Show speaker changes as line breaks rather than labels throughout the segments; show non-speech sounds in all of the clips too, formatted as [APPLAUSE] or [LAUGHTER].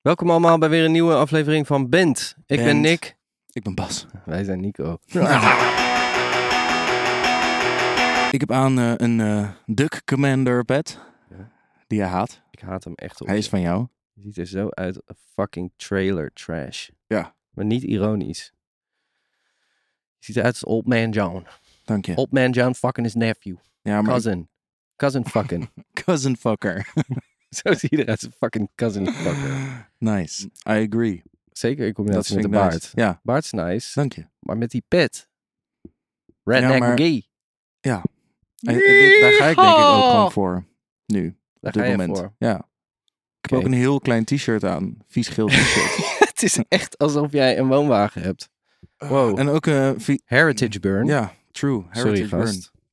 Welkom allemaal bij weer een nieuwe aflevering van Bent. Ik ben
Bent.
Nick.
Ik ben Bas.
Wij zijn Nico.
Ik heb aan eh, een eh, Duck Commander pet.
Ja.
Die je haat.
Ik haat hem echt op.
Hij is van jou.
Je ziet er zo uit. Fucking trailer trash.
Ja.
Maar niet ironisch. Je ziet eruit als Old Man John.
Dank je.
Old Man John fucking his nephew.
Ja, maar
Oh, Cousin. Cousin
[LAUGHS]
fucking.
cousin fucker.
zo ziet hij eruit als een fucking cousin fucking.
Nice. I agree.
Zeker in combinatie met
vind
de
ik nice.
baard.
Ja,
Baard is nice.
dank je.
Maar met die pet. Redneck
Ja, maar-
gay.
Ja. Eh, eh, dit- daar ga ik denk ik ook gewoon voor. Nu. Op
Daar
dit
ga je
moment.
voor.
Ja. Ik heb
Oké.
ook een heel klein t-shirt aan. Vies geel
[LAUGHS]
t-shirt.
Het is echt alsof jij een woonwagen hebt. Wow.
en ook eh vi-
Heritage Burn.
Ja, true. Heritage
Sorry, gast.
burn.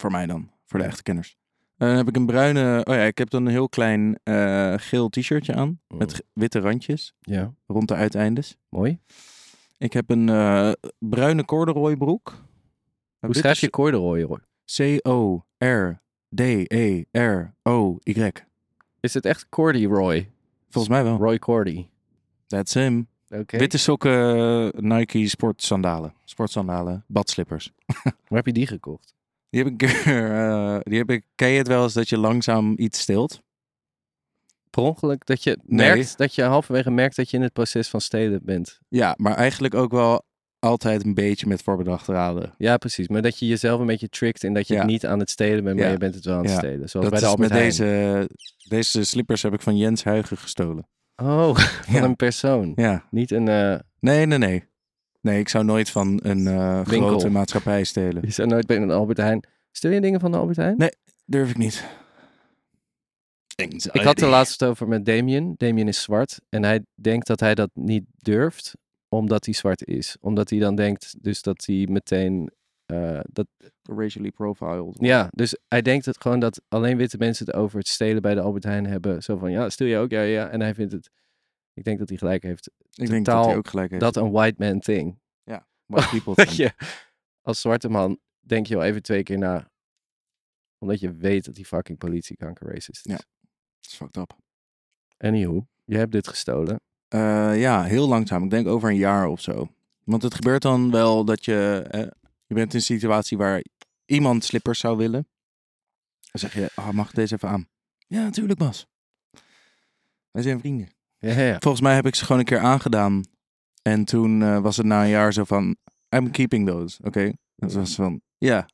Voor mij dan. Voor de echte kenners. En dan heb ik een bruine... Oh ja, ik heb dan een heel klein eh, geel t-shirtje aan. Met
Oh.
ge- witte randjes.
Mm, Ja,
Rond de uiteindes.
mooi.
Ik heb een eh, bruine corduroy broek.
Hoe schrijf je corduroy? hoor?
E C-O-R-D-E-R-O-Y.
Is het echt corduroy?
Volgens mij wel.
Roy Cordy.
That's him.
Oké.
Witte sokken, eh, Nike sportsandalen. Sportsandalen, badslippers.
Waar heb je die gekocht?
Die heb ik... [LAUGHS] een keer, eh, die heb ik ken je het wel eens dat je langzaam iets stilt?
Per ongeluk dat je
Nee.
merkt dat je halverwege merkt dat je in het proces van steden bent.
Ja, maar eigenlijk ook wel altijd een beetje met voorbedachte raden.
Ja, precies. Maar dat je jezelf een beetje trickt in dat je
Ja.
het niet aan het steden bent, maar
Ja.
je bent het wel aan het
Ja.
steden. Zoals bij
Dat
de
is
Albert
met
Heijn.
deze, deze slippers heb ik van Jens Huigen gestolen.
Oh, [LAUGHS] van
Ja.
een persoon.
Ja.
Niet een... eh,
Nee, nee, nee. Nee, ik zou nooit van een eh,
Winkel.
grote maatschappij stelen.
je zou nooit bij een Albert Heijn... Stel je dingen van de Albert Heijn?
Nee. Durf ik niet. Dus
Ik had er laatst over met Damien. Damien is zwart en hij denkt dat hij dat niet durft omdat hij zwart is. Omdat hij dan denkt dus dat hij meteen... eh, dat,
Racially profiled.
ja, dus hij denkt het gewoon dat alleen witte mensen het over het stelen bij de Albert Heijn hebben. Zo van, ja, stil je ook? Ja, ja. ja. En hij vindt het... Ik denk dat hij gelijk heeft.
Ik denk
Totaal
dat hij ook gelijk heeft.
Dat een white man thing. [LAUGHS]
White people
Dat
thing.
je als zwarte man denk je wel even twee keer na. Omdat je weet dat die fucking politiekanker racist is.
Ja. Dat is fucked up.
Anywho, je hebt dit gestolen.
Eh, ja, heel langzaam. Ik denk over een jaar of zo. Want het gebeurt dan wel dat je... eh, je bent in een situatie waar iemand slippers zou willen. Dan zeg je, ah, mag ik deze even aan? Ja, natuurlijk Bas. Wij zijn vrienden.
Ja, ja, ja.
Volgens mij heb ik ze gewoon een keer aangedaan. En toen eh, was het na een jaar zo van... I'm keeping those, oké? Dat was van, ja,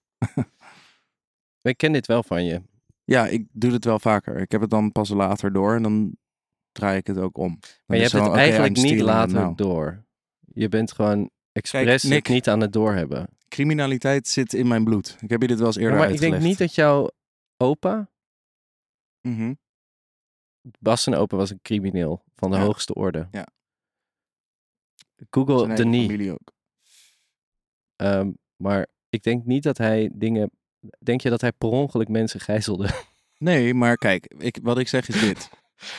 Ik ken dit wel van je.
Ja, ik doe het wel vaker. Ik heb het dan pas later door en dan draai ik het ook om. Dan
Maar je
is
hebt het
zo, Dus oké,
eigenlijk
I'm
niet
stealing
later
now.
door. Je bent gewoon expres het
Nick.
niet aan het doorhebben.
Criminaliteit zit in mijn bloed. Ik heb je dit wel eens
Ja,
eerder
maar ik
uitgelegd.
denk niet dat jouw opa,
Mhm.
Bas zijn opa was een crimineel van de
Ja.
hoogste orde.
Ja.
Google
Zijn
de
eigen
nie.
familie ook.
Ehm, maar ik denk niet dat hij dingen... Denk je dat hij per ongeluk mensen gijzelde? [LAUGHS]
Nee, maar kijk, ik, wat ik zeg is [LAUGHS] dit.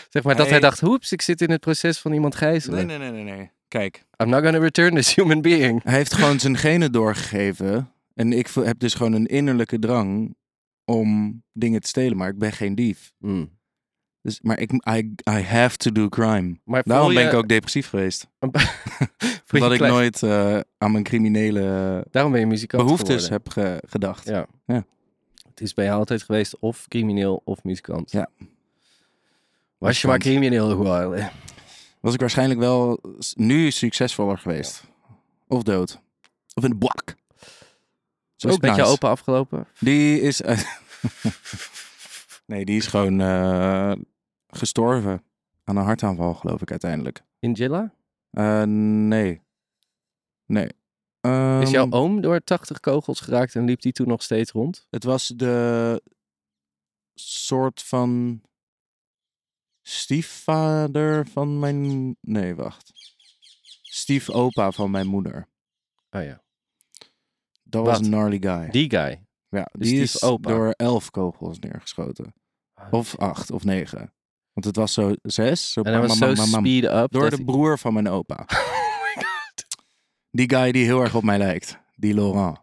zeg maar dat hij
Hij-
dacht, hoeps, ik zit in het proces van iemand gijzelen.
nee, nee, nee, nee, nee. Kijk,
I'm not gonna return this human being.
hij heeft gewoon zijn genen doorgegeven. En ik vo- heb dus gewoon een innerlijke drang om dingen te stelen. Maar ik ben geen dief.
Mm.
Dus, maar ik, I, I have to do crime.
Maar voel
Daarom ben
je-
ik ook depressief geweest.
voel je
Omdat ik
klein-
nooit eh, aan mijn criminele
Daarom ben je muzikant
behoeftes
geworden.
heb ge- gedacht.
Ja.
Ja.
Het is bij jou altijd geweest of crimineel of muzikant.
Ja.
Was je maar crimineel geworden.
Was ik waarschijnlijk wel s- nu succesvoller geweest. Of dood. Of in de bak.
Zo is het met
nice.
je opa afgelopen.
Die is... uit- [LAUGHS] nee, die is gewoon eh, gestorven. Aan een hartaanval, geloof ik, uiteindelijk.
In Jilla?
Eh, nee. Nee.
Is
Ehm,
jouw oom door 80 kogels geraakt en liep die toen nog steeds rond?
Het was de soort van stiefvader van mijn... Nee, wacht. Stiefopa van mijn moeder.
Oh ja.
Dat was
Wat?
een gnarly guy.
Die guy.
ja,
de
die is
stiefopa.
door elf kogels neergeschoten. Of acht of negen. Want het was zo zes. Zo
Ah, En hij was
mam,
zo
mam, mam, mam.
speed up.
door
dat
de
hij-
broer van mijn opa.
[LAUGHS] Oh my god.
Die guy die heel erg op mij lijkt. Die Laurent.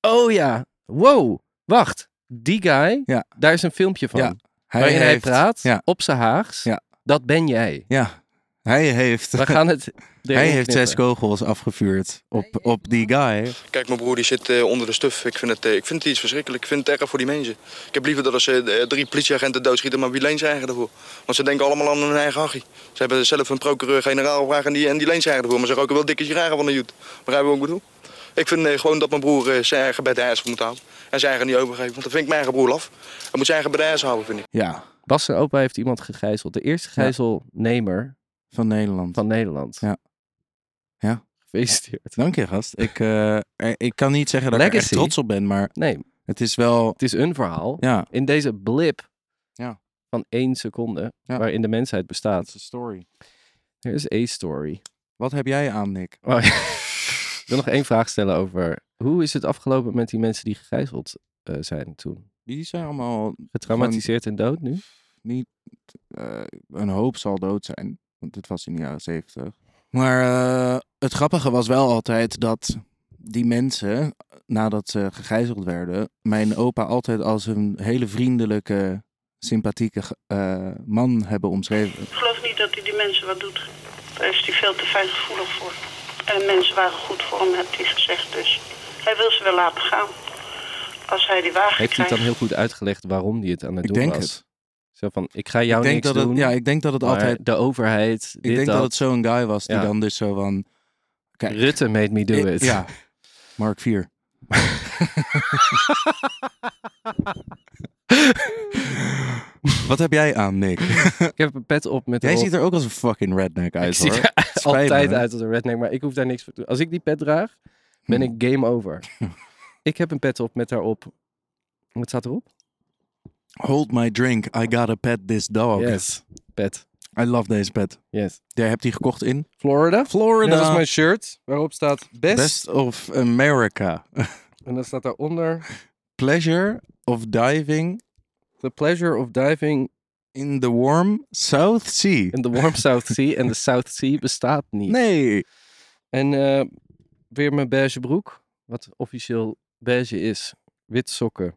Oh ja. Wow. Wacht. Die guy.
Ja.
Daar is een filmpje van.
Ja, Hij
waarin hij
heeft-
praat.
Ja,
Op zijn haags.
Ja.
Dat ben jij.
Ja, hij heeft, [LAUGHS]
We gaan het erin
hij heeft
knippen.
zes kogels afgevuurd op, op die guy.
Kijk, mijn broer die zit eh, onder de stuf. Ik vind, het, eh, ik vind het iets verschrikkelijk. Ik vind het erg voor die mensen. Ik heb liever dat als ze eh, drie politieagenten doodschieten, maar wie leent ze eigenlijk ervoor? Want ze denken allemaal aan hun eigen hachie. Ze hebben zelf een procureur-generaal gevraagd en die, en die leent ze eigenlijk ervoor. Maar ze roken wel dikke sigaren van de joet. Begrijp je wat ik bedoel? Ik vind eh, gewoon dat mijn broer eh, zijn eigen bed ijs moet houden. En zijn eigen niet overgeven. Want dan vind ik mijn eigen broer laf. Hij moet zijn eigen bed ijs houden, vind ik.
Ja,
Bas zijn opa heeft iemand gegijzeld. De eerste gijzelnemer
van Nederland.
van Nederland.
Ja. Ja.
Gefeliciteerd.
Dank je, gast. Ik, eh, er- ik kan niet zeggen dat ik er echt
Legacy.
trots op ben, maar
Nee,
het is wel...
het is een verhaal.
Ja,
In deze blip
Ja.
van één seconde
Ja.
waarin de mensheid
dat
bestaat.
is een story.
Er is a story.
Wat heb jij aan, Nick?
Oh, ja. Ik wil nog één vraag stellen over... Hoe is het afgelopen met die mensen die gegijzeld eh, zijn toen?
Die zijn allemaal...
Getraumatiseerd en dood nu?
eh, een hoop zal dood zijn, want dit was in de jaren zeventig. Maar eh, het grappige was wel altijd dat die mensen, nadat ze gegijzeld werden... mijn opa altijd als een hele vriendelijke, sympathieke eh, man hebben omschreven.
Ik geloof niet dat hij die mensen wat doet. Daar is hij veel te fijngevoelig voor. En mensen waren goed voor hem, heeft hij gezegd. Dus hij wil ze wel laten gaan. Als hij die wagen
Heeft hij
krijgt.
het dan heel goed uitgelegd waarom hij het aan het
Ik
doen
denk
was?
het.
Zo van, ik ga jou
ik denk
niks
dat het,
doen,
Ja, ik denk dat het
maar
altijd...
de overheid, dit,
Ik denk dat,
dat.
het zo'n guy was die
Ja.
dan dus zo van... Kijk,
Rutte made me do
ik-
it.
Ja, Mark 4. Wat heb jij aan, Nick?
[LAUGHS] Ik heb een pet op met
Jij
erop-
ziet er ook als een fucking redneck
Ik
uit,
zie
hoor.
er [LAUGHS]
Het spijt
altijd
me.
uit als een redneck, maar ik hoef daar niks voor te doen. Als ik die pet draag, ben ik game [LAUGHS] over. ik heb een pet op met daarop... Wat staat erop?
Hold my drink, I gotta pet this dog.
Oh, Yes. Pet.
I love deze pet.
Yes.
Jij hebt die gekocht in?
Florida.
Florida.
En dat is mijn shirt, waarop staat best.
Best of America. [LAUGHS]
En dan staat daaronder...
Pleasure of diving
The pleasure of diving
in the warm South Sea.
in the warm South Sea. En de South Sea bestaat niet.
Nee.
En eh, weer mijn beige broek. Wat officieel beige is. Wit sokken.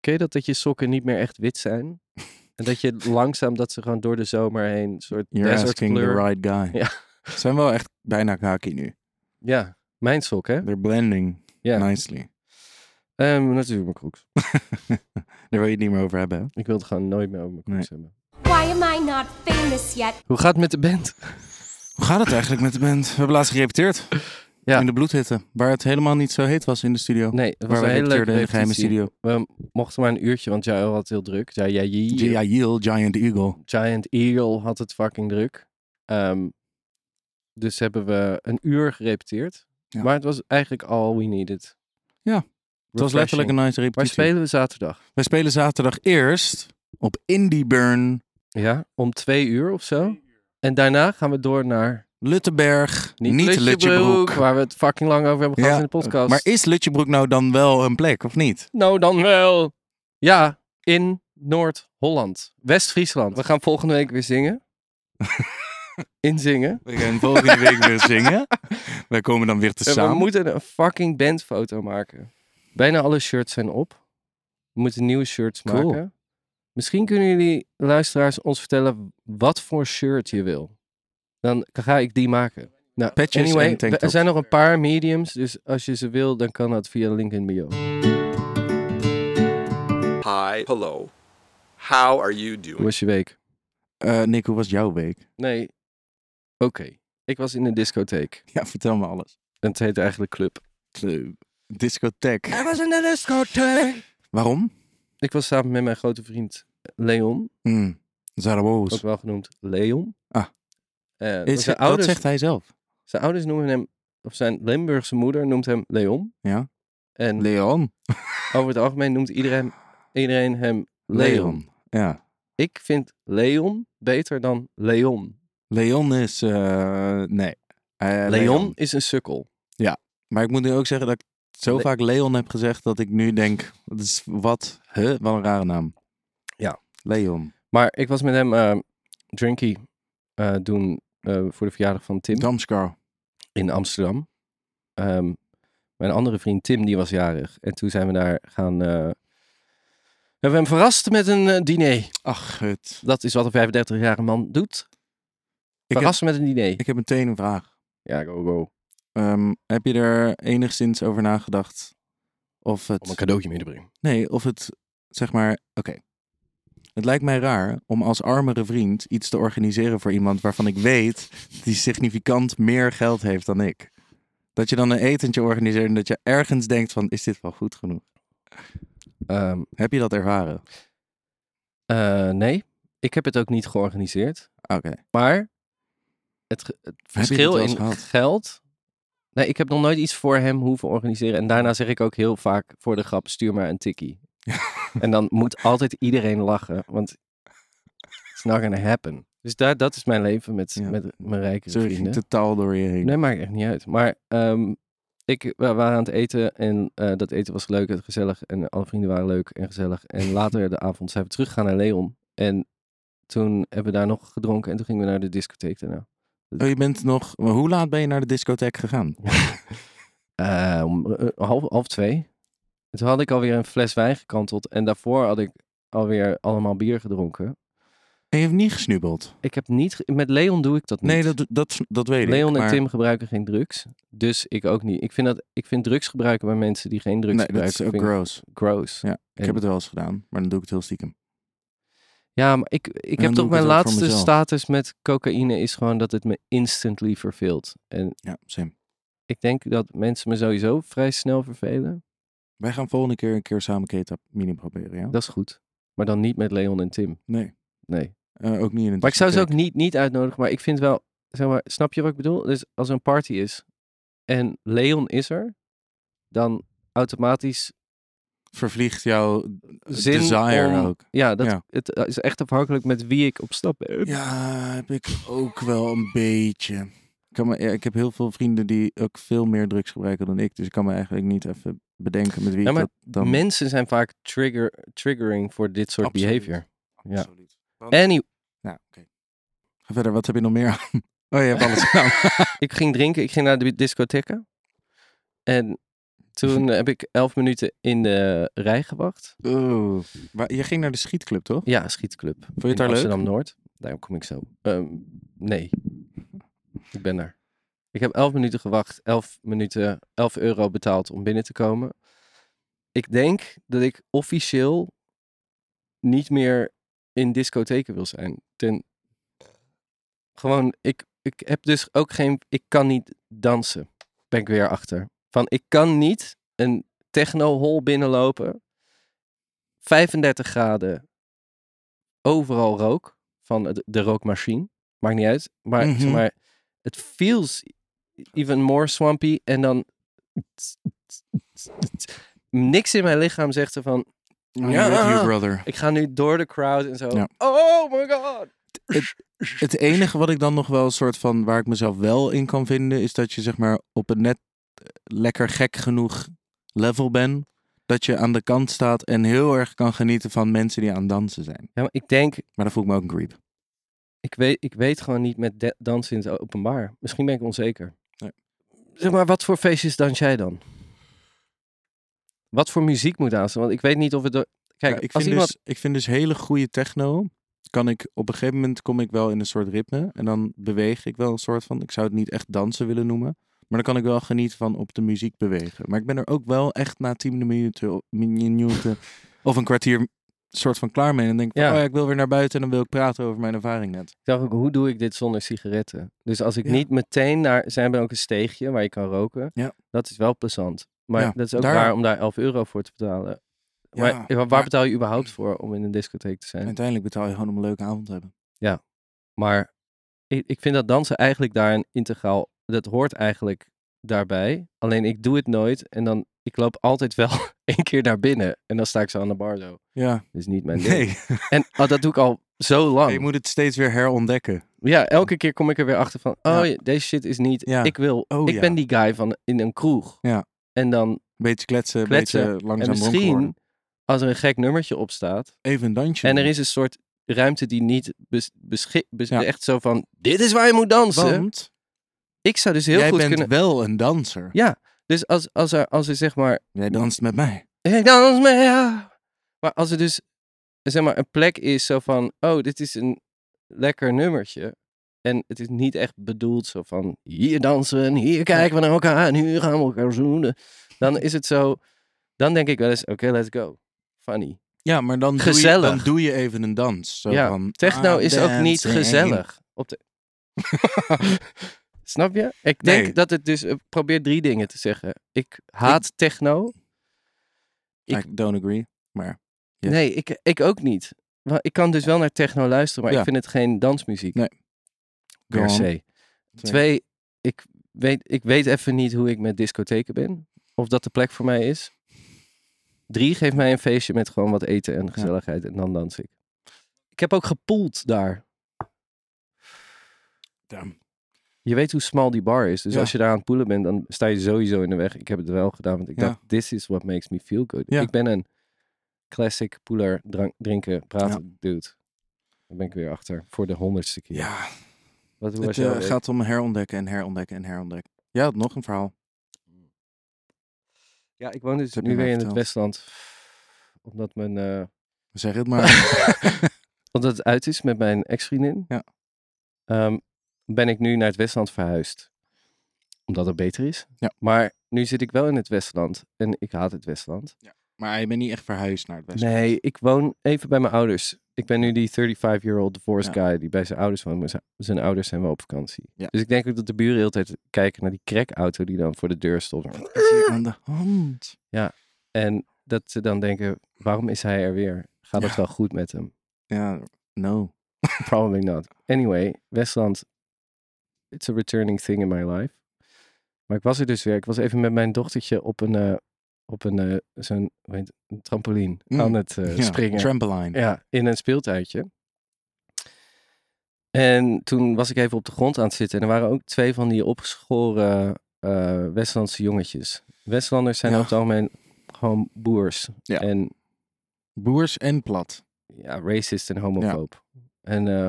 Ken je dat, dat je sokken niet meer echt wit
[LAUGHS]
zijn? En dat je langzaam, dat ze gewoon door de zomer heen, een soort
You're asking
desertkleur.
the right guy.
Ja.
Ze zijn wel echt bijna kaki nu.
Ja, mijn sok, hè?
They're blending
Ja.
nicely.
Ehm, natuurlijk mijn crocs.
Daar wil je het niet meer over hebben. hè?
Ik wil het gewoon nooit meer over mijn crocs hebben.
Why am I not famous yet?
Hoe gaat het met de band? [LAUGHS]
Hoe gaat het eigenlijk met de band? We hebben laatst gerepeteerd.
Ja.
In de bloedhitte. Waar het helemaal niet zo heet was in de studio.
Nee, het was
waar
een
we
hele leuke
repeteerden in de geheime
repetitie.
studio.
We mochten maar een uurtje, want jij had het heel druk. Jij, jij, jij-
Ja, Yale, Giant Eagle.
Giant Eagle had het fucking druk. Ehm, dus hebben we een uur gerepeteerd.
Ja.
Maar het was eigenlijk all we needed.
Ja, Het was
Refreshing.
letterlijk een nice
Waar
repetitie.
spelen we zaterdag?
Wij spelen zaterdag eerst op Indie Burn
Ja, om twee uur of zo. En daarna gaan we door naar
Luttenberg.
niet,
Niet, Lutjebroek.
Waar we het fucking lang over hebben gehad
Ja,
in de podcast.
Maar is Lutjebroek nou dan wel een plek of niet?
Nou dan wel. Ja, in Noord-Holland. West-Friesland. We gaan volgende week weer
[LAUGHS]
zingen. Inzingen.
We gaan
[LAUGHS]
volgende week weer zingen. Wij komen dan weer te
En
samen.
We moeten een fucking bandfoto maken. Bijna alle shirts zijn op. We moeten nieuwe shirts
Cool.
maken. Misschien kunnen jullie luisteraars ons vertellen wat voor shirt je wil. Dan ga ik die maken. Nou,
Patches en
anyway,
tanktops.
er zijn nog een paar mediums, dus als je ze wil, dan kan dat via link in bio.
Hi, hello. How are you
Hoe
doing?
was je week?
Eh, Nick, hoe was jouw week?
Nee. Oké. Ik was in een discotheek.
Ja, vertel me alles.
En het heet eigenlijk club.
De discotheek.
was in een discotheek.
Waarom?
Ik was samen met mijn grote vriend Leon.
Mm. Zaraboos.
Ook wel genoemd Leon.
Ah.
Eh,
Is-
zijn,
dat
ouders,
zegt hij zelf.
zijn ouders noemen hem, of zijn Limburgse moeder noemt hem Leon.
Ja.
En
Leon.
over het algemeen noemt iedereen, iedereen hem Leon.
Ja.
Ik vind Leon beter dan Leon.
Leon is... eh, nee. Eh, Leon.
Leon is een sukkel.
Maar ik moet nu ook zeggen dat ik zo
Le-
vaak Leon heb gezegd dat ik nu denk... Dat is wat? Huh? Wat een rare naam.
Ja.
Leon.
Maar ik was met hem eh drinky eh, doen eh, voor de verjaardag van Tim
Damskar.
in Amsterdam. Ehm, mijn andere vriend Tim, die was jarig. En toen zijn we daar gaan eh, We hebben hem verrast met een eh, diner.
Ach, het.
Dat is wat een 35-jarige man doet.
Ik heb,
Verrassen met een diner.
ik heb meteen een vraag.
Ja, go, go.
Ehm, heb je er enigszins over nagedacht? Of het.
Om een cadeautje mee te brengen.
Nee, of het zeg maar. Oké. Het lijkt mij raar om als armere vriend iets te organiseren voor iemand waarvan ik weet die significant meer geld heeft dan ik. Dat je dan een etentje organiseert en dat je ergens denkt van is dit wel goed genoeg?
Ehm,
Heb je dat ervaren?
eh, nee, ik heb het ook niet georganiseerd.
Oké.
Maar het, ge- het verschil
wel
in
eens gehad?
geld... Nee, ik heb nog nooit iets voor hem hoeven organiseren. En daarna zeg ik ook heel vaak voor de grap, stuur maar een tikkie. en dan moet altijd iedereen lachen, want it's not gonna happen. Dus daar, dat is mijn leven met,
Ja.
met mijn rijke
Zo ging
vrienden.
totaal door je heen.
Nee, maakt echt niet uit. Maar ehm, ik, we waren aan het eten en eh, dat eten was leuk en gezellig. En alle vrienden waren leuk en gezellig.
[LAUGHS]
En later de avond zijn we teruggegaan naar Leon. En toen hebben we daar nog gedronken en toen gingen we naar de discotheek daarna.
Oh, je bent nog. maar Hoe laat ben je naar de discotheek gegaan?
Eh, om eh, half, half twee. En toen had ik alweer een fles wijn gekanteld. En daarvoor had ik alweer allemaal bier gedronken.
En je hebt niet gesnubbeld.
Ik heb niet... ge- Met Leon doe ik dat niet.
Nee, dat, dat, dat weet ik.
Leon en
maar-
Tim gebruiken geen drugs. Dus ik ook niet. Ik vind, dat, ik vind drugs gebruiken bij mensen die geen drugs
Nee, dat
gebruiken.
is ook
vind ik
gross.
gross.
Ja, ik
En-
heb het wel eens gedaan, maar dan doe ik het heel stiekem.
Ja, maar ik, ik heb
doe
toch mijn
ik het ook voor
laatste
mezelf.
status met cocaïne is gewoon dat het me instantly verveelt. En
Ja, same.
ik denk dat mensen me sowieso vrij snel vervelen. Hm.
Wij gaan volgende keer een keer samen ketamine proberen, ja?
Dat is goed. Maar dan niet met Leon en Tim.
Nee,
Nee.
eh, ook niet in een
Maar ik zou ze ook
discotheek.
niet, niet uitnodigen. Maar ik vind wel, zeg maar, snap je wat ik bedoel? Dus als er een party is en Leon is er, dan automatisch
Vervliegt jouw
zin
desire
om-
ook.
Ja, dat,
Ja.
het is echt afhankelijk met wie ik op stap ben.
Ja, heb ik ook wel een beetje. Ik, kan me, ja, ik heb heel veel vrienden die ook veel meer drugs gebruiken dan ik. Dus ik kan me eigenlijk niet even bedenken met wie
Ja,
ik
maar
dat dan...
Mensen zijn vaak trigger, triggering voor dit soort
Absoluut.
behavior. ja.
Absoluut. Want-
Anyway.
Nou, oké. Ga verder, wat heb je nog meer [LAUGHS] aan? Oh, je hebt alles
[LAUGHS]
gedaan.
ik ging drinken, ik ging naar de discotheken. En
[LAUGHS]
toen heb ik elf minuten in de rij gewacht.
Oeh. Maar je ging naar de schietclub, toch?
Ja, een schietclub. Vond
je het daar leuk?
Amsterdam Noord. Daar kom ik zo. Ehm, nee, ik ben er. Ik heb elf minuten gewacht, elf minuten, elf euro betaald om binnen te komen. Ik denk dat ik officieel niet meer in discotheken wil zijn. Ten, gewoon, ik, ik heb dus ook geen, ik kan niet dansen. Ben ik weer achter. Van, ik kan niet een techno-hol binnenlopen. 35 graden, overal rook van het- de rookmachine. Maakt niet uit. Maar,
Mhm.
zeg maar het feels even more swampy. En dan... Niks in mijn lichaam zegt er van...
Ja. With you, brother.
Ik ga nu door de crowd en zo.
Ja.
Oh my god.
Het enige wat ik dan nog wel een soort van waar ik mezelf wel in kan vinden, is dat je zeg maar op een net eh, lekker gek genoeg level bent. Dat je aan de kant staat en heel erg kan genieten van mensen die aan het dansen zijn.
Ja, maar ik denk,
Maar dan voel ik me ook een creep.
ik weet, ik weet gewoon niet met de- dansen in het openbaar. Misschien ben ik onzeker.
Nee.
Zeg maar, wat voor feestjes dans jij dan? Wat voor muziek moet aanstaan? Want ik weet niet of het... door- Kijk,
Ja, ik,
als
vind
iemand...
dus, ik vind dus hele goede techno. Kan ik op een gegeven moment kom ik wel in een soort ritme. En dan beweeg ik wel een soort van. Ik zou het niet echt dansen willen noemen. Maar dan kan ik wel genieten van op de muziek bewegen. Maar ik ben er ook wel echt na tien minuten, [LAUGHS] minuten of een kwartier soort van klaar mee. En denk ik van,
Ja.
oh ja, ik wil weer naar buiten en dan wil ik praten over mijn ervaring net.
Ik dacht ook, hoe doe ik dit zonder sigaretten? Dus als ik
Ja.
niet meteen naar... Zij hebben ook een steegje waar je kan roken.
Ja.
Dat is wel plezant. Maar
Ja,
dat is ook
daar-
waar om daar 11 euro voor te betalen. maar
Ja,
waar
maar-
betaal je überhaupt voor om in een discotheek te zijn?
Uiteindelijk betaal je gewoon om een leuke avond te hebben.
Maar ik, ik vind dat dansen eigenlijk daar een integraal... Dat hoort eigenlijk daarbij. Alleen ik doe het nooit. En dan... Ik loop altijd wel [LAUGHS] één keer naar binnen. En dan sta ik zo aan de bar zo.
Ja,
Dat is niet mijn ding.
nee.
En oh, dat doe ik al zo lang.
Je moet het steeds weer herontdekken.
Ja, elke keer kom ik er weer achter van,
Ja.
oh, ja, deze shit is niet.
Ja.
Ik wil,
Oh,
ik
ja.
ben die guy van in een kroeg.
Ja.
En dan,
Beetje kletsen, een
Kletsen.
beetje
en
langzaam dronken worden.
misschien als er een gek nummertje op staat.
Even een dansje.
En er
doen.
is een soort ruimte die niet bes, beschi- bes-
Ja.
echt zo van, dit is waar je moet dansen.
Want
ik zou dus heel
Jij
goed
bent
kunnen.
wel een danser.
Ja, dus als, als, er, als er zeg maar,
Jij danst met mij.
hey, dans me, ja. Maar als er dus zeg maar, een plek is zo van, oh, dit is een lekker nummertje. En het is niet echt bedoeld zo van, hier dansen, we en hier kijken we naar elkaar en hier gaan we elkaar zoenen. Dan is het zo, dan denk ik wel eens, oké, let's go. Funny.
Ja, maar dan doe, je,
Gezellig.
dan doe je even een dans. Zo
ja,
van,
techno
ah,
nou is ook niet
dancing.
gezellig. Op
[LAUGHS]
de... Snap je? Ik denk
Nee.
dat het dus, ik probeer drie dingen te zeggen. Ik haat techno.
I don't agree. Ja.
Nee, ik, ik ook niet. Wa- Ik kan dus wel naar techno luisteren, maar
Ja.
ik vind het geen dansmuziek.
Nee. Go
Per
on.
se. Twee, ik weet, ik weet even niet hoe ik met discotheken ben. Of dat de plek voor mij is. Drie, geef mij een feestje met gewoon wat eten en gezelligheid en dan dans ik. Ik heb ook gepoeld daar.
Damn.
Je weet hoe smal die bar is. Dus
Ja.
als je daar aan het poelen bent, dan sta je sowieso in de weg. Ik heb het wel gedaan, want ik
Ja.
dacht, this is what makes me feel good.
Ja.
Ik ben een classic poeler, drank, drinken, praten, dude. Daar ben ik weer achter. Voor de honderdste keer.
Ja,
Wat, hoe was
het
jouw
eh,
week?
gaat om herontdekken en herontdekken en herontdekken. Ja, had nog een verhaal.
Ja, ik woon dus
heb
nu
je
weer
mij
in het
verteld.
Westland. Omdat mijn... eh,
Zeg het [LAUGHS] maar.
Omdat het uit is met mijn ex-vriendin.
Ja.
Ehm, ben ik nu naar het Westland verhuisd. Omdat het beter is.
Ja.
Maar nu zit ik wel in het Westland. En ik haat het Westland.
maar je bent niet echt verhuisd naar het westen.
Nee, ik woon even bij mijn ouders. Ik ben nu die 35-year-old divorce
Ja.
guy die bij zijn ouders woont. Maar zijn, zijn ouders zijn wel op vakantie.
Ja.
Dus ik denk ook dat de buren de hele tijd kijken naar die crackauto die dan voor de deur stond.
Wat is hier aan de hand?
En dat ze dan denken, waarom is hij er weer? Gaat het
Ja.
wel goed met hem? [LAUGHS]
Ja, no.
Probably not. Anyway, Westland, it's a returning thing in my life. Maar ik was er dus weer. Ik was even met mijn dochtertje op een, eh, op een, eh, zo'n, hoe heet het, een trampoline
Mm.
aan het eh,
Ja,
springen.
Trampoline.
Ja, in een speeltuintje. En toen was ik even op de grond aan het zitten. En er waren ook twee van die opgeschoren eh, Westlandse jongetjes. Westlanders zijn
Ja.
over het algemeen gewoon boers.
Ja.
En
Boers en plat.
ja, racist en homofoob. En eh,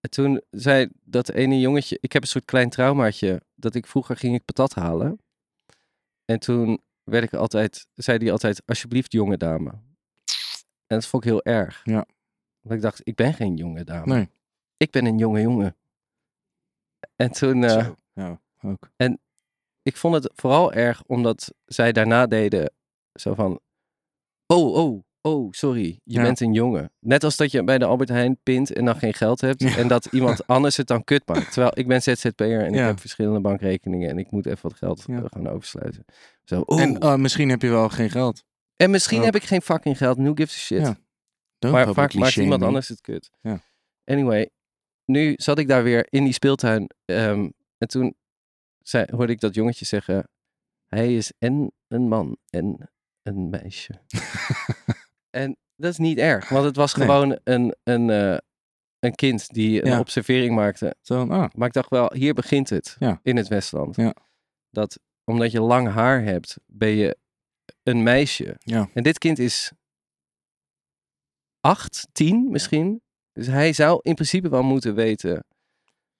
en toen zei dat ene jongetje, ik heb een soort klein traumaatje, dat ik vroeger ging ik patat halen. En toen werd ik altijd, zei die altijd, alsjeblieft jonge dame. En dat vond ik heel erg.
Ja.
Want ik dacht, ik ben geen jonge dame.
Nee.
Ik ben een jonge jongen. En toen... eh,
Zo. Ja, ook.
ik vond het vooral erg omdat zij daarna deden zo van... Oh, oh, oh, sorry. Je
Ja.
bent een jongen. Net als dat je bij de Albert Heijn pint en dan geen geld hebt.
Ja.
En dat
[LAUGHS]
iemand anders het dan kut maakt. Terwijl ik ben ZZP'er en ik
Ja.
heb verschillende bankrekeningen. En ik moet even wat geld
Ja.
eh, gaan oversluiten. Zo, oh.
En
En,
eh, misschien heb je wel geen geld.
misschien
ook.
heb ik geen fucking geld. Who gives a shit?
Ja. Don't
Maar
publicly
vaak maakt
shame
iemand
me.
anders het kut.
Ja.
Anyway, nu zat ik daar weer in die speeltuin. ehm, en toen zei, hoorde ik dat jongetje zeggen... Hij is en een man en een meisje.
[LAUGHS]
en dat is niet erg. Want het was
Nee.
gewoon een, een, eh, een kind die een
Ja.
observering maakte.
Zo, ah,
Maar ik dacht wel, hier begint het.
Ja.
In het Westland.
Ja.
Dat omdat je lang haar hebt, ben je een meisje.
Ja.
En dit kind is acht, tien misschien. Dus hij zou in principe wel moeten weten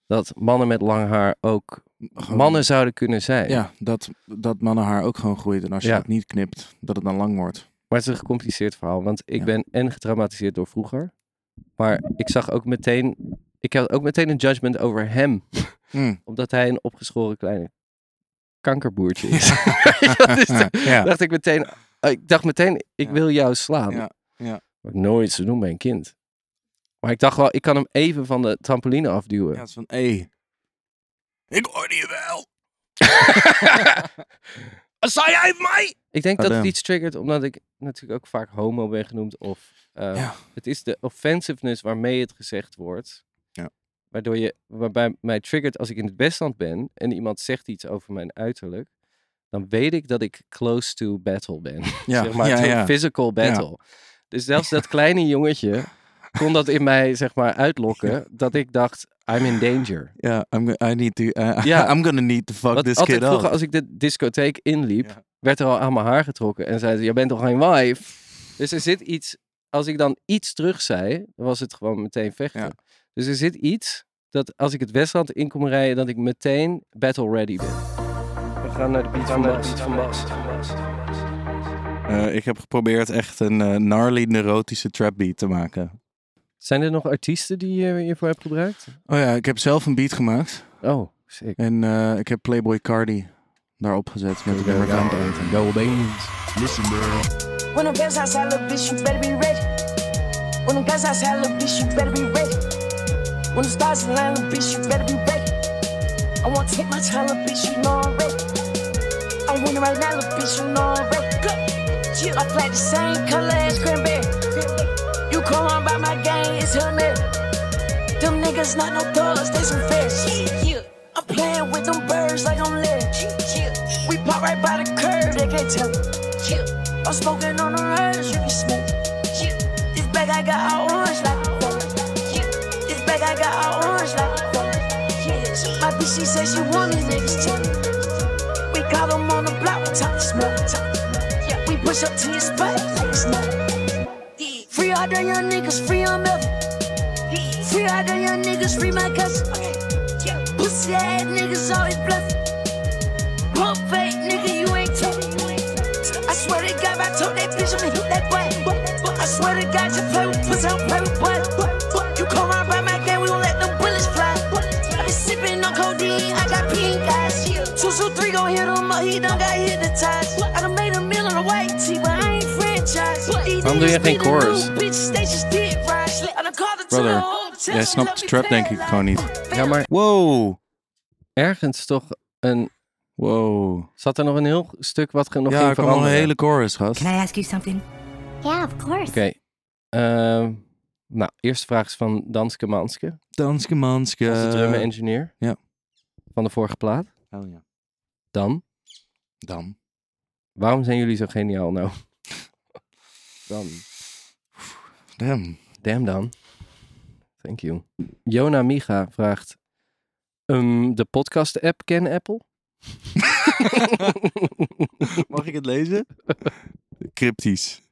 dat mannen met lang haar ook
gewoon-
mannen zouden kunnen zijn.
Ja, dat, dat mannenhaar ook gewoon groeit. En als je
Ja.
het niet knipt, dat het dan lang wordt.
Maar het is een gecompliceerd verhaal, want ik
Ja.
ben en getraumatiseerd door vroeger, maar ik zag ook meteen, ik had ook meteen een judgment over hem,
Mm.
[LAUGHS] omdat hij een opgeschoren kleine kankerboertje is. [LAUGHS] dat is de-
ja.
dus dacht ik meteen, eh, ik dacht meteen, ik
Ja.
wil jou slaan.
Ja, ja.
Wat ik nooit zou doen bij een kind. Maar ik dacht wel, ik kan hem even van de trampoline afduwen.
Ja, het is van, hé. Ik hoorde je wel.
Zei jij mij? Ik denk dat het
Goddamn.
iets triggert, omdat ik natuurlijk ook vaak homo ben genoemd. Of eh,
Ja.
het is de offensiveness waarmee het gezegd wordt.
Ja.
Waardoor je, waarbij mij triggert als ik in het Westland ben en iemand zegt iets over mijn uiterlijk. Dan weet ik dat ik close to battle ben.
[LAUGHS] Ja,
zeg maar,
ja,
to
ja.
physical battle. Dus zelfs dat kleine jongetje kon dat in mij, zeg maar, uitlokken. Dat ik dacht, I'm in danger.
Ja, I'm, go- I need to, [LAUGHS] eh,
Ja.
I'm gonna need to fuck
Want
this
altijd
kid up.
vroeger als ik de discotheek inliep,
Ja.
werd er al aan mijn haar getrokken en zeiden ze, je bent toch geen wife? Dus er zit iets, als ik dan iets terug zei, dan was het gewoon meteen vechten.
Ja.
Dus er zit iets dat als ik het Westland in kom rijden, dat ik meteen battle ready ben. We gaan naar de beat van Bas.
Eh, ik heb geprobeerd echt een eh, gnarly neurotische trap beat te maken.
Zijn er nog artiesten die eh, je hiervoor hebt gebruikt?
Oh ja, ik heb zelf een beat gemaakt.
Oh, sick.
En eh, ik heb Playboy Cardi daarop gezet met de nummer Valentine.
Go Beans.
When I'm guns outside, little bitch, you better be ready. When I'm guns outside, little bitch, you better be ready. When the stars align, little bitch, you better be ready. I want to take my time, little bitch, you know I'm ready. I'm winning right now, little bitch, you know I'm ready. Go. Yeah, I play the same color as Cranberry. You come on by my gang, it's her name. Them niggas not no thugs, they some fish. Yeah. I'm playing with them birds like I'm lit. We pop right by the curb, they can't tell. I'm smoking on the herbs, you can smell. This bag I got all orange like This bag I got all orange like My bitch, she said she want these niggas too. We caught 'em on the block with top smoke. We push up to your spot like it's nothing. Free all the young niggas, free on milk. Free all the young niggas, free my cousin. Pussy ass niggas always bluffing. Pump fake nigga, you ain't tough. I swear to God, I told that bitch I'm hit that way. I swear to God, you play with pussy, I don't play with butt. You come around by my game, we gon' let them bullets fly. I been sipping on codeine, I got pink eyes. Two, two, three gon' hit him up, he done got hypnotized. I done made a meal on the white tee, but I ain't franchised.
Waarom doe je geen chorus?
Brother, jij snapt de trap denk ik gewoon niet.
Ja, maar
Wow,
ergens toch een...
wow.
Zat er nog een heel stuk wat ge- nog
ja,
ging
er kwam nog een
veranderen?
hele chorus, gast.
Can I ask you something?
Yeah, of course.
Oké. Ehm, nou, eerste vraag is van Danske Manske.
Danske manske.
Onze drummer engineer.
Eh, ja.
Van de vorige plaat.
Oh ja.
Dan,
Dan.
waarom zijn jullie zo geniaal nou? [LAUGHS] Dan.
Damn.
Damn dan. Thank you. Jona Miga vraagt... ehm, de podcast-app ken Apple?
Mag ik het [LAUGHS] lezen? Cryptisch.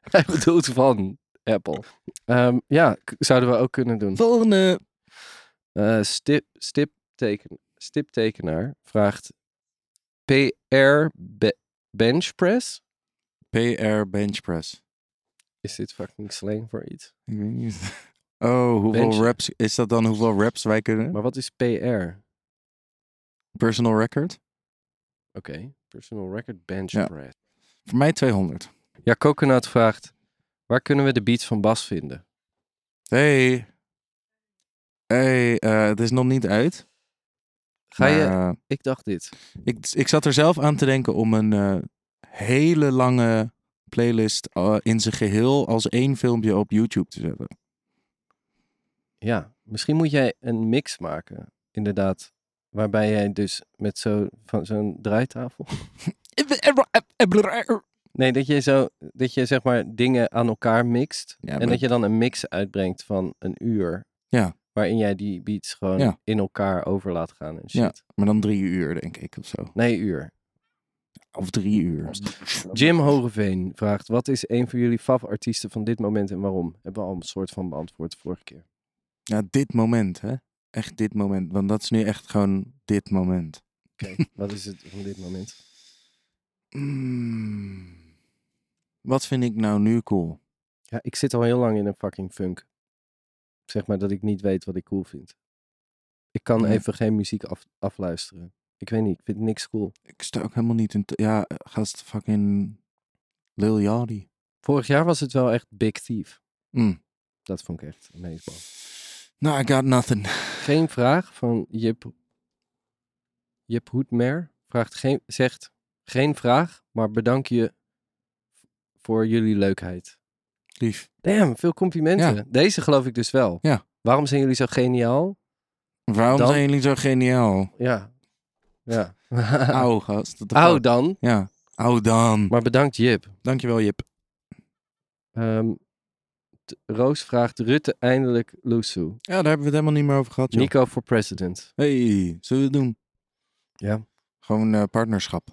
Hij bedoelt van Apple. Ehm, ja, k- zouden we ook kunnen doen.
Volgende.
Eh, stip, stipteken, stiptekenaar vraagt... PR be- bench press?
PR bench press.
Is dit fucking slang voor iets?
Ik weet niet. Oh, hoeveel
Bench.
reps? Is dat dan hoeveel reps wij kunnen?
Maar wat is PR?
Personal record?
Oké, personal record bench
Ja.
press.
Voor mij 200.
Ja, Coconut vraagt... Waar kunnen we de beats van Bas vinden?
Hey. Hey, eh, het is nog niet uit.
Ga je...
maar, eh,
Ik dacht dit.
ik, ik zat er zelf aan te denken om een eh, hele lange playlist eh, in zijn geheel als één filmpje op YouTube te zetten.
Ja, misschien moet jij een mix maken, inderdaad. Waarbij jij dus met zo, van zo'n draaitafel...
eh,
Nee, dat je zo, dat je zeg maar dingen aan elkaar mixt.
Ja,
en
maar-
dat je dan een mix uitbrengt van een uur.
Ja.
Waarin jij die beats gewoon
Ja.
in elkaar over laat gaan en shit.
Ja, maar dan drie uur denk ik of zo.
Nee, uur.
Of drie uur.
Jim Hogeveen vraagt, wat is een van jullie fav-artiesten van dit moment en waarom? Hebben we al een soort van beantwoord vorige keer.
Ja, dit moment, hè? Echt dit moment. Want dat is nu echt gewoon dit moment.
Oké, wat is het van dit moment?
Mm. Wat vind ik nou nu cool?
Ja, ik zit al heel lang in een fucking funk. Zeg maar dat ik niet weet wat ik cool vind. Ik kan
Ja.
even geen muziek af, afluisteren. Ik weet niet, ik vind niks cool.
Ik sta ook helemaal niet in... te- Ja, eh, gast fucking Lil Yachty.
Vorig jaar was het wel echt Big Thief.
Mm.
Dat vond ik echt amazing.
Nou, I got nothing. [LAUGHS]
Geen vraag van Jip, Jip Hoedmer. Vraagt geen, zegt geen vraag, maar bedank je voor jullie leukheid.
Lief.
Damn, veel complimenten.
Ja.
Deze geloof ik dus wel.
Ja.
Waarom zijn jullie zo geniaal?
Waarom
Dan-
zijn jullie zo
[LAUGHS]
geniaal?
Ja.
[LAUGHS]
Ja.
Auw, gast. what the
Au
fuck?
dan.
Ja. Auw dan.
Maar bedankt Jip.
Dankjewel, Jip.
Ehm, t- Roos vraagt Rutte eindelijk Lusu.
Ja, daar hebben we het helemaal niet meer over gehad, joh.
Nico voor president.
Hey, zullen we het doen?
Ja.
Gewoon eh, partnerschap.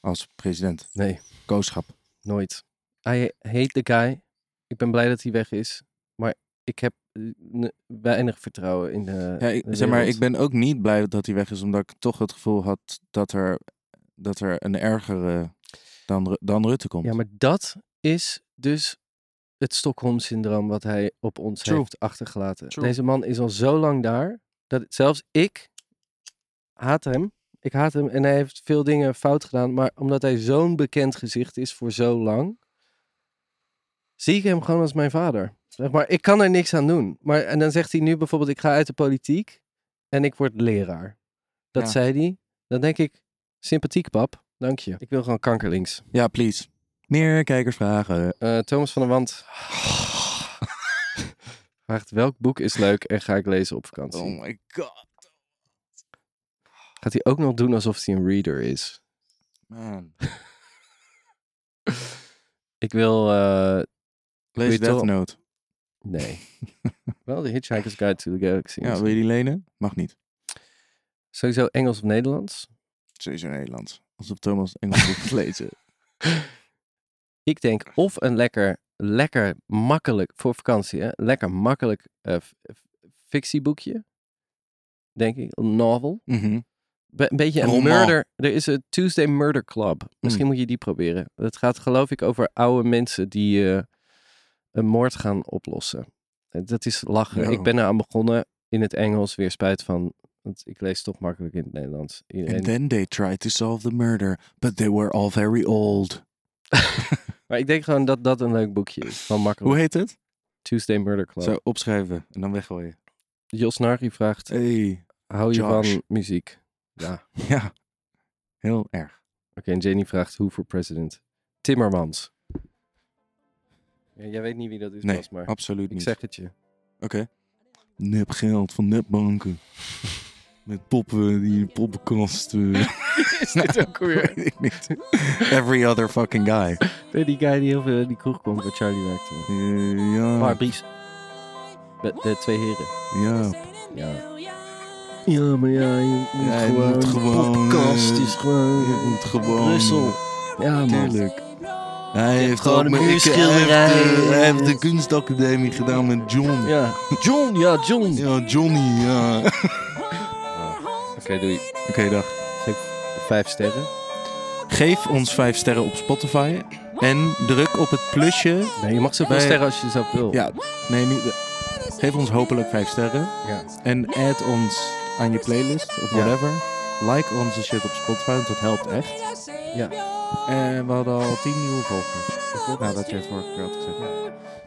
Als president.
Nee, Eh,
Kooschap.
nooit. I hate the guy. Ik ben blij dat hij weg is. Maar ik heb eh, n- weinig vertrouwen in de
Ja, ik,
de
zeg maar,
wereld.
ik ben ook niet blij dat hij weg is, omdat ik toch het gevoel had dat er, dat er een ergere dan, Ru- dan Rutte komt.
Ja, maar dat is dus het Stockholm-syndroom wat hij op ons
True.
heeft achtergelaten.
True.
Deze man is al zo lang daar, dat zelfs ik haat hem. Ik haat hem en hij heeft veel dingen fout gedaan. Maar omdat hij zo'n bekend gezicht is voor zo lang, zie ik hem gewoon als mijn vader. Zeg maar, ik kan er niks aan doen. Maar, en dan zegt hij nu bijvoorbeeld, ik ga uit de politiek en ik word leraar. Dat
Ja.
zei hij. Dan denk ik, sympathiek pap, dank je. Ik wil gewoon kankerlinks.
Ja, please. Meer kijkersvragen. Oh
Eh, Thomas van der Wand Ah, vraagt welk boek is leuk en ga ik lezen op vakantie.
Oh my god.
Gaat hij ook nog doen alsof hij een reader is?
Man.
Ik wil... eh,
Lees
je het
Death
wel?
Note.
nee. Wel, The Hitchhiker's Guide to the Galaxy.
Ja, wil je die lenen? Mag niet.
Sowieso Engels of Nederlands.
Sowieso Nederlands. Alsof Thomas Engels moet
[LAUGHS]
lezen.
Ik denk of een lekker, lekker makkelijk, voor vakantie, hè, lekker makkelijk eh, f- f- fictieboekje. Denk ik, een novel.
Mhm.
Be- een beetje een
Roman. Hmm.
murder. Er is een Tuesday Murder Club. Misschien moet je die proberen. Het gaat geloof ik over oude mensen die eh, een moord gaan oplossen. En Dat is lachen.
Yo.
Ik ben eraan begonnen in het Engels. Weer spijt van, want ik lees toch makkelijk in het Nederlands. Iedereen.
And then they tried to solve the murder, but they were all very old.
Maar ik denk gewoon dat dat een leuk boekje is. Van makkelijk.
Hoe heet het?
Tuesday Murder Club.
Zo, opschrijven en dan weggooien.
Jos Nargi vraagt,
Hey.
hou je
Eh, Josh.
van muziek? Ja. Oké,
Ja. Heel erg.
en Jenny vraagt, hoe voor president? Timmermans. Ja, jij weet niet wie dat is,
Nee,
Bas, maar
absoluut
ik
niet.
zeg het je.
Oké. Nep geld
[LAUGHS]
van nepbanken. Met poppen die in
[LAUGHS]
poppenkast.
Is dit ook weer?
Weet ik niet. Every other fucking guy.
Nee, die guy die heel veel in die kroeg kwam waar Charlie werkte.
Eh, ja.
Maar Bries. De, de twee heren.
Ja.
Ja. Ja, maar ja, je moet
Ja, je
gewoon...
moet
de
gewoon,
podcast
eh,
is gewoon...
je moet gewoon-
Brussel. Ja, man.
Tuurlijk. Hij heeft
gewoon
ook
een
met- ik- hij
muurschilderij.
heeft, eh, Hij heeft de kunstacademie gedaan met John. Ja,
Ja. John, ja, John.
Johnny,
[LAUGHS]
ja. Oké,
Oké, doei.
dag.
Vijf sterren.
Geef ons vijf sterren op Spotify. En druk op het plusje.
Nee, je mag zoveel
Nee.
sterren als je zelf wil.
Ja, nee, niet. Geef ons hopelijk vijf sterren.
Ja.
En add ons aan je playlist of
Ja.
whatever. Like onze shit op Spotify, want dat helpt echt.
Ja.
En we hadden al tien nieuwe volgers. Nou, dat je het vorige keer had gezegd.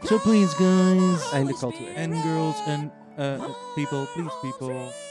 So please guys.
Einde call to action.
and girls and uh, people, please people.